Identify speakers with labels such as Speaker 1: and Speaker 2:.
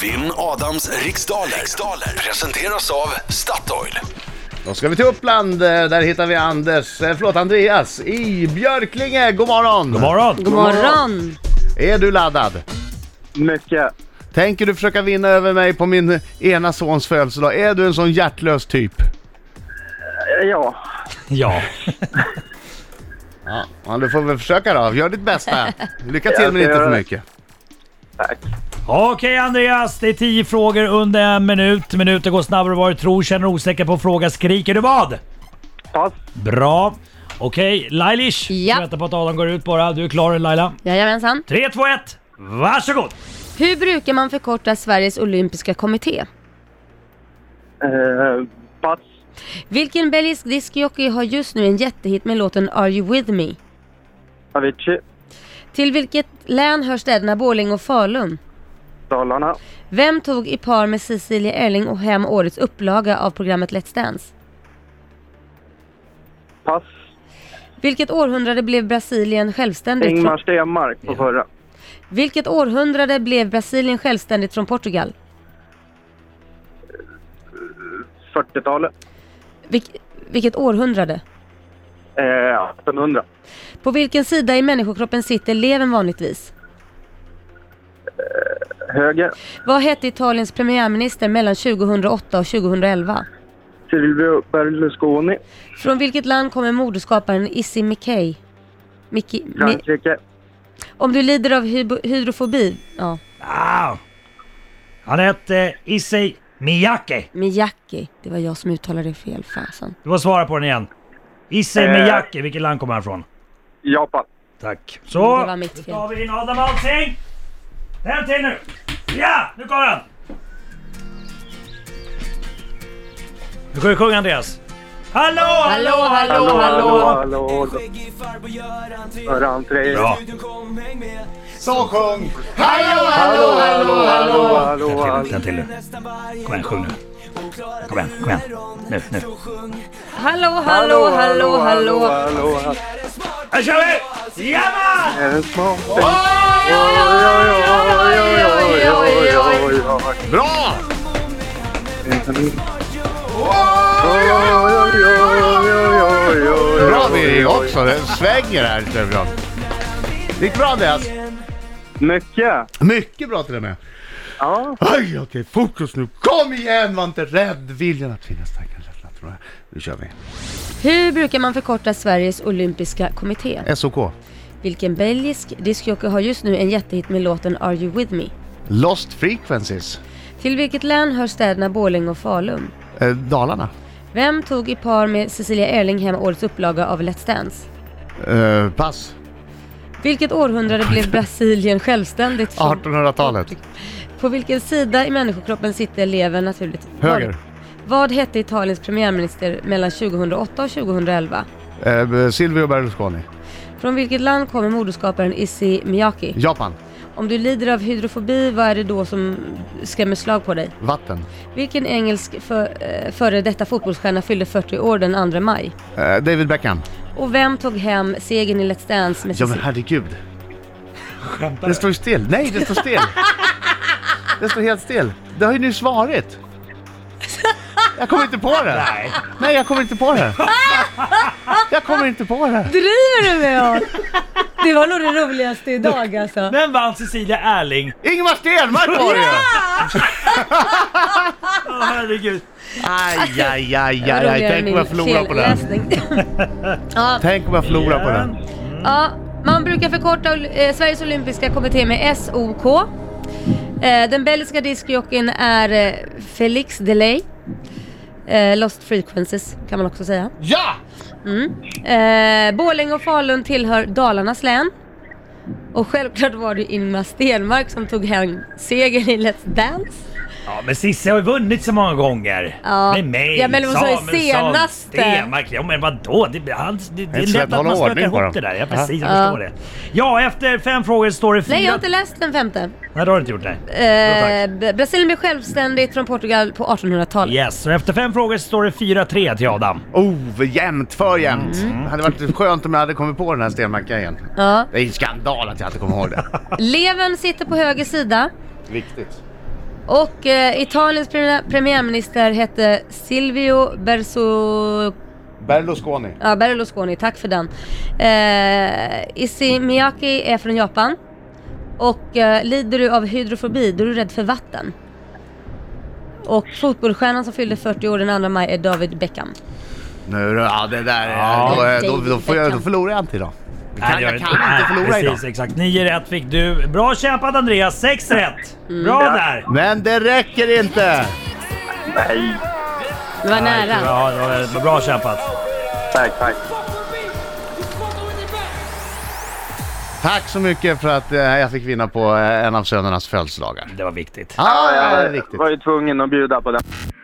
Speaker 1: Vinn Adams riksdaler. riksdaler presenteras av Statoil.
Speaker 2: Då ska vi till Uppland, eh, där hittar vi Anders, eh, förlåt Andreas i Björklinge. God morgon!
Speaker 3: God morgon!
Speaker 4: God morgon!
Speaker 2: Är du laddad?
Speaker 5: Mycket.
Speaker 2: Tänker du försöka vinna över mig på min ena sons födelsedag? Är du en sån hjärtlös typ?
Speaker 5: Eh, Ja.
Speaker 3: Ja,
Speaker 2: Ja, ja, du får väl försöka då. Gör ditt bästa. Lycka till
Speaker 5: Jag
Speaker 2: men
Speaker 5: ska
Speaker 2: inte för
Speaker 5: göra det.
Speaker 2: mycket.
Speaker 5: Tack.
Speaker 3: Okej Andreas, det är tio frågor under en minut. Minuter går snabbare än vad du tror. Känner du osäker på en fråga skriker du vad?
Speaker 5: Pass.
Speaker 3: Bra. Okej, Lailish.
Speaker 4: Ja.
Speaker 3: Vi väntar på att Adam går ut bara. Du är klar Laila.
Speaker 4: Jajamensan.
Speaker 3: 3, 2, 1. Varsågod!
Speaker 4: Hur brukar man förkorta Sveriges olympiska kommitté?
Speaker 5: Eh, pass.
Speaker 4: Vilken belgisk discjockey har just nu en jättehit med låten Are You With Me?
Speaker 5: Avicii.
Speaker 4: Till vilket län hör städerna Borlänge och Falun?
Speaker 5: Dalarna.
Speaker 4: Vem tog i par med Cecilia Erling och hem årets upplaga av programmet Let's Dance?
Speaker 5: Pass.
Speaker 4: Vilket århundrade blev Brasilien självständigt?
Speaker 5: Ingmar
Speaker 4: Från,
Speaker 5: Stenmark på förra.
Speaker 4: vilket århundrade blev Brasilien självständigt från Portugal?
Speaker 5: 40-talet.
Speaker 4: Vilk, vilket århundrade?
Speaker 5: Eh, 1800.
Speaker 4: På vilken sida i människokroppen sitter levern vanligtvis?
Speaker 5: Höger.
Speaker 4: Vad hette Italiens premiärminister mellan 2008 och 2011?
Speaker 5: Silvio Berlusconi.
Speaker 4: Från vilket land kommer modeskaparen Issy Mickey? Mickey mi,
Speaker 5: Frankrike.
Speaker 4: om du lider av hybo- hydrofobi? Ja,
Speaker 3: Ah. Han hette Issey Miyake.
Speaker 4: Miyaki. Det var jag som uttalade det fel. Fasen.
Speaker 3: Du får svara på den igen. Issey
Speaker 5: Eh.
Speaker 3: Miyake, vilket land kommer han ifrån?
Speaker 5: Japan.
Speaker 3: Tack. Så,
Speaker 4: Det var mitt
Speaker 3: då
Speaker 4: fel.
Speaker 3: tar vi in Adam Alsing. Den till nu. Ja, nu kommer han. Nu ska vi sjunga Andreas. Hallå, hallå, hallå, hallå.
Speaker 5: hallå.
Speaker 6: Skäggig farbror gör entré.
Speaker 5: Före entré.
Speaker 3: Bra.
Speaker 6: Studion kom, häng med.
Speaker 5: Hallå, hallå, hallå. hallå,
Speaker 3: Den till nu.
Speaker 6: Nästan varje
Speaker 3: Kom igen, sjung nu.
Speaker 6: gång klarar
Speaker 3: Kom igen, kom igen.
Speaker 6: morgon.
Speaker 3: Nu, nu.
Speaker 6: Så sjung.
Speaker 4: Hallå, hallå, hallå, hallå.
Speaker 5: hallå, hallå.
Speaker 6: Här är smart.
Speaker 3: Här kör vi! Jajamän!
Speaker 5: Är det smart? Oj, oj, oj, oj, oj, oj, oj.
Speaker 2: Bra! Bra Birger också. Det svänger här. Det är bra. Det gick bra Andreas.
Speaker 5: Mycket.
Speaker 2: Mycket bra till och med.
Speaker 5: Ja.
Speaker 2: Aj, okej, fokus nu. Kom igen, var inte rädd. Viljan att finnas tanken lättnad tror jag. Nu kör vi.
Speaker 4: Hur brukar man förkorta Sveriges olympiska kommitté?
Speaker 2: SOK.
Speaker 4: Vilken belgisk discjockey har just nu en jättehit med låten Are You With Me?
Speaker 2: Lost Frequencies.
Speaker 4: Till vilket län hör städerna Borlänge och Falun?
Speaker 2: Eh, Dalarna.
Speaker 4: Vem tog i par med Cecilia Erling hem årets upplaga av Let's Dance?
Speaker 2: Eh, pass.
Speaker 4: Vilket århundrade blev Brasilien självständigt från?
Speaker 2: 1800-talet.
Speaker 4: På vilken sida i människokroppen sitter levern naturligt?
Speaker 2: Höger.
Speaker 4: Vad, vad hette Italiens premiärminister mellan 2008 och 2011?
Speaker 2: Eh, Silvio Berlusconi.
Speaker 4: Från vilket land kommer moderskaparen Issey Miyake?
Speaker 2: Japan.
Speaker 4: Om du lider av hydrofobi, vad är det då som skrämmer slag på dig?
Speaker 2: Vatten.
Speaker 4: Vilken engelsk för, eh, före detta fotbollsstjärna fyllde 40 år den 2 maj?
Speaker 2: Eh, David Beckham.
Speaker 4: Och vem tog hem segern i Let's Dance med
Speaker 2: Ja men
Speaker 4: Cecilia?
Speaker 2: herregud. Det står ju still. Nej, det står still. Det står helt still. Det har ju nyss varit. Jag kommer inte på det.
Speaker 3: Nej.
Speaker 2: Nej, jag kommer inte på det. Jag kommer inte på det.
Speaker 4: Driver du med oss? Det var nog det roligaste idag alltså.
Speaker 3: Den vann Cecilia Erling.
Speaker 2: Ingemar Stenmark var det ju!
Speaker 3: Åh herregud.
Speaker 2: Aj, aj, aj, aj, aj. Tänk om jag förlorar på den.
Speaker 4: ja,
Speaker 2: Tänk om jag förlorar på den.
Speaker 4: ja, man brukar förkorta eh, Sveriges Olympiska Kommitté med SOK. Eh, den belgiska discjockeyn är eh, Felix Delay. Eh, Lost Frequencies kan man också säga. Mm.
Speaker 2: Ja!
Speaker 4: Eh, Borlänge och Falun tillhör Dalarnas län. Och självklart var det Ingmar Stenmark som tog hem segern i Let's Dance.
Speaker 3: Ja men Cissi har ju vunnit så många gånger.
Speaker 4: Ja.
Speaker 3: Med mig,
Speaker 4: Ja, men hon sa ju senaste.
Speaker 3: Stenmark. Ja men vadå? Det, han, det, det
Speaker 2: är
Speaker 3: är
Speaker 2: inte så lätt
Speaker 3: lätt
Speaker 2: att
Speaker 3: att
Speaker 2: hålla
Speaker 3: man stökar
Speaker 2: ordning på dem.
Speaker 3: ihop det där. Ja precis, jag
Speaker 4: Ja.
Speaker 3: förstår det. Ja, efter fem frågor står det fyra...
Speaker 4: Nej, jag har inte läst den femte.
Speaker 3: Nej, det har du inte gjort nej. Bra, tack.
Speaker 4: Eh, B- Brasilien blev självständigt från Portugal på 1800-talet.
Speaker 3: Yes, och efter fem frågor står det 4-3 till Adam.
Speaker 2: Oh, jämnt, för jämnt. Det hade varit skönt om jag hade kommit på den här stenmackan igen.
Speaker 4: Ja.
Speaker 2: Det är en skandal att jag inte kommer ihåg det.
Speaker 4: Levern sitter på höger sida
Speaker 2: Viktigt.
Speaker 4: Och eh, Italiens premiär, premiärminister hette Silvio Berso,
Speaker 2: Berlusconi.
Speaker 4: ja, Berlusconi, tack för den. Eh, Isimiaki är från Japan. Och eh, lider du av hydrofobi, då är du rädd för vatten. Och fotbollsstjärnan som fyllde 40 år den 2 maj är David Beckham.
Speaker 2: Nu då, ja det där.
Speaker 4: Ja.
Speaker 2: då, då, då, får jag, då förlorar jag inte idag. Jag kan,
Speaker 3: det gör
Speaker 2: jag
Speaker 3: det
Speaker 2: kan inte förlora
Speaker 3: precis,
Speaker 2: idag.
Speaker 3: exakt. Nio rätt fick du. Bra kämpat Andreas, sex rätt.
Speaker 4: Mm.
Speaker 3: Bra där!
Speaker 2: Men det räcker inte!
Speaker 5: Nej,
Speaker 4: Det var nära.
Speaker 3: Bra, det var bra kämpat.
Speaker 5: tack, tack.
Speaker 2: Tack så mycket för att eh, jag fick vinna på eh, en av sönernas födelsedagar.
Speaker 3: Det var viktigt.
Speaker 2: Ah, ja, det är
Speaker 5: Jag
Speaker 2: riktigt.
Speaker 5: var ju tvungen att bjuda på det.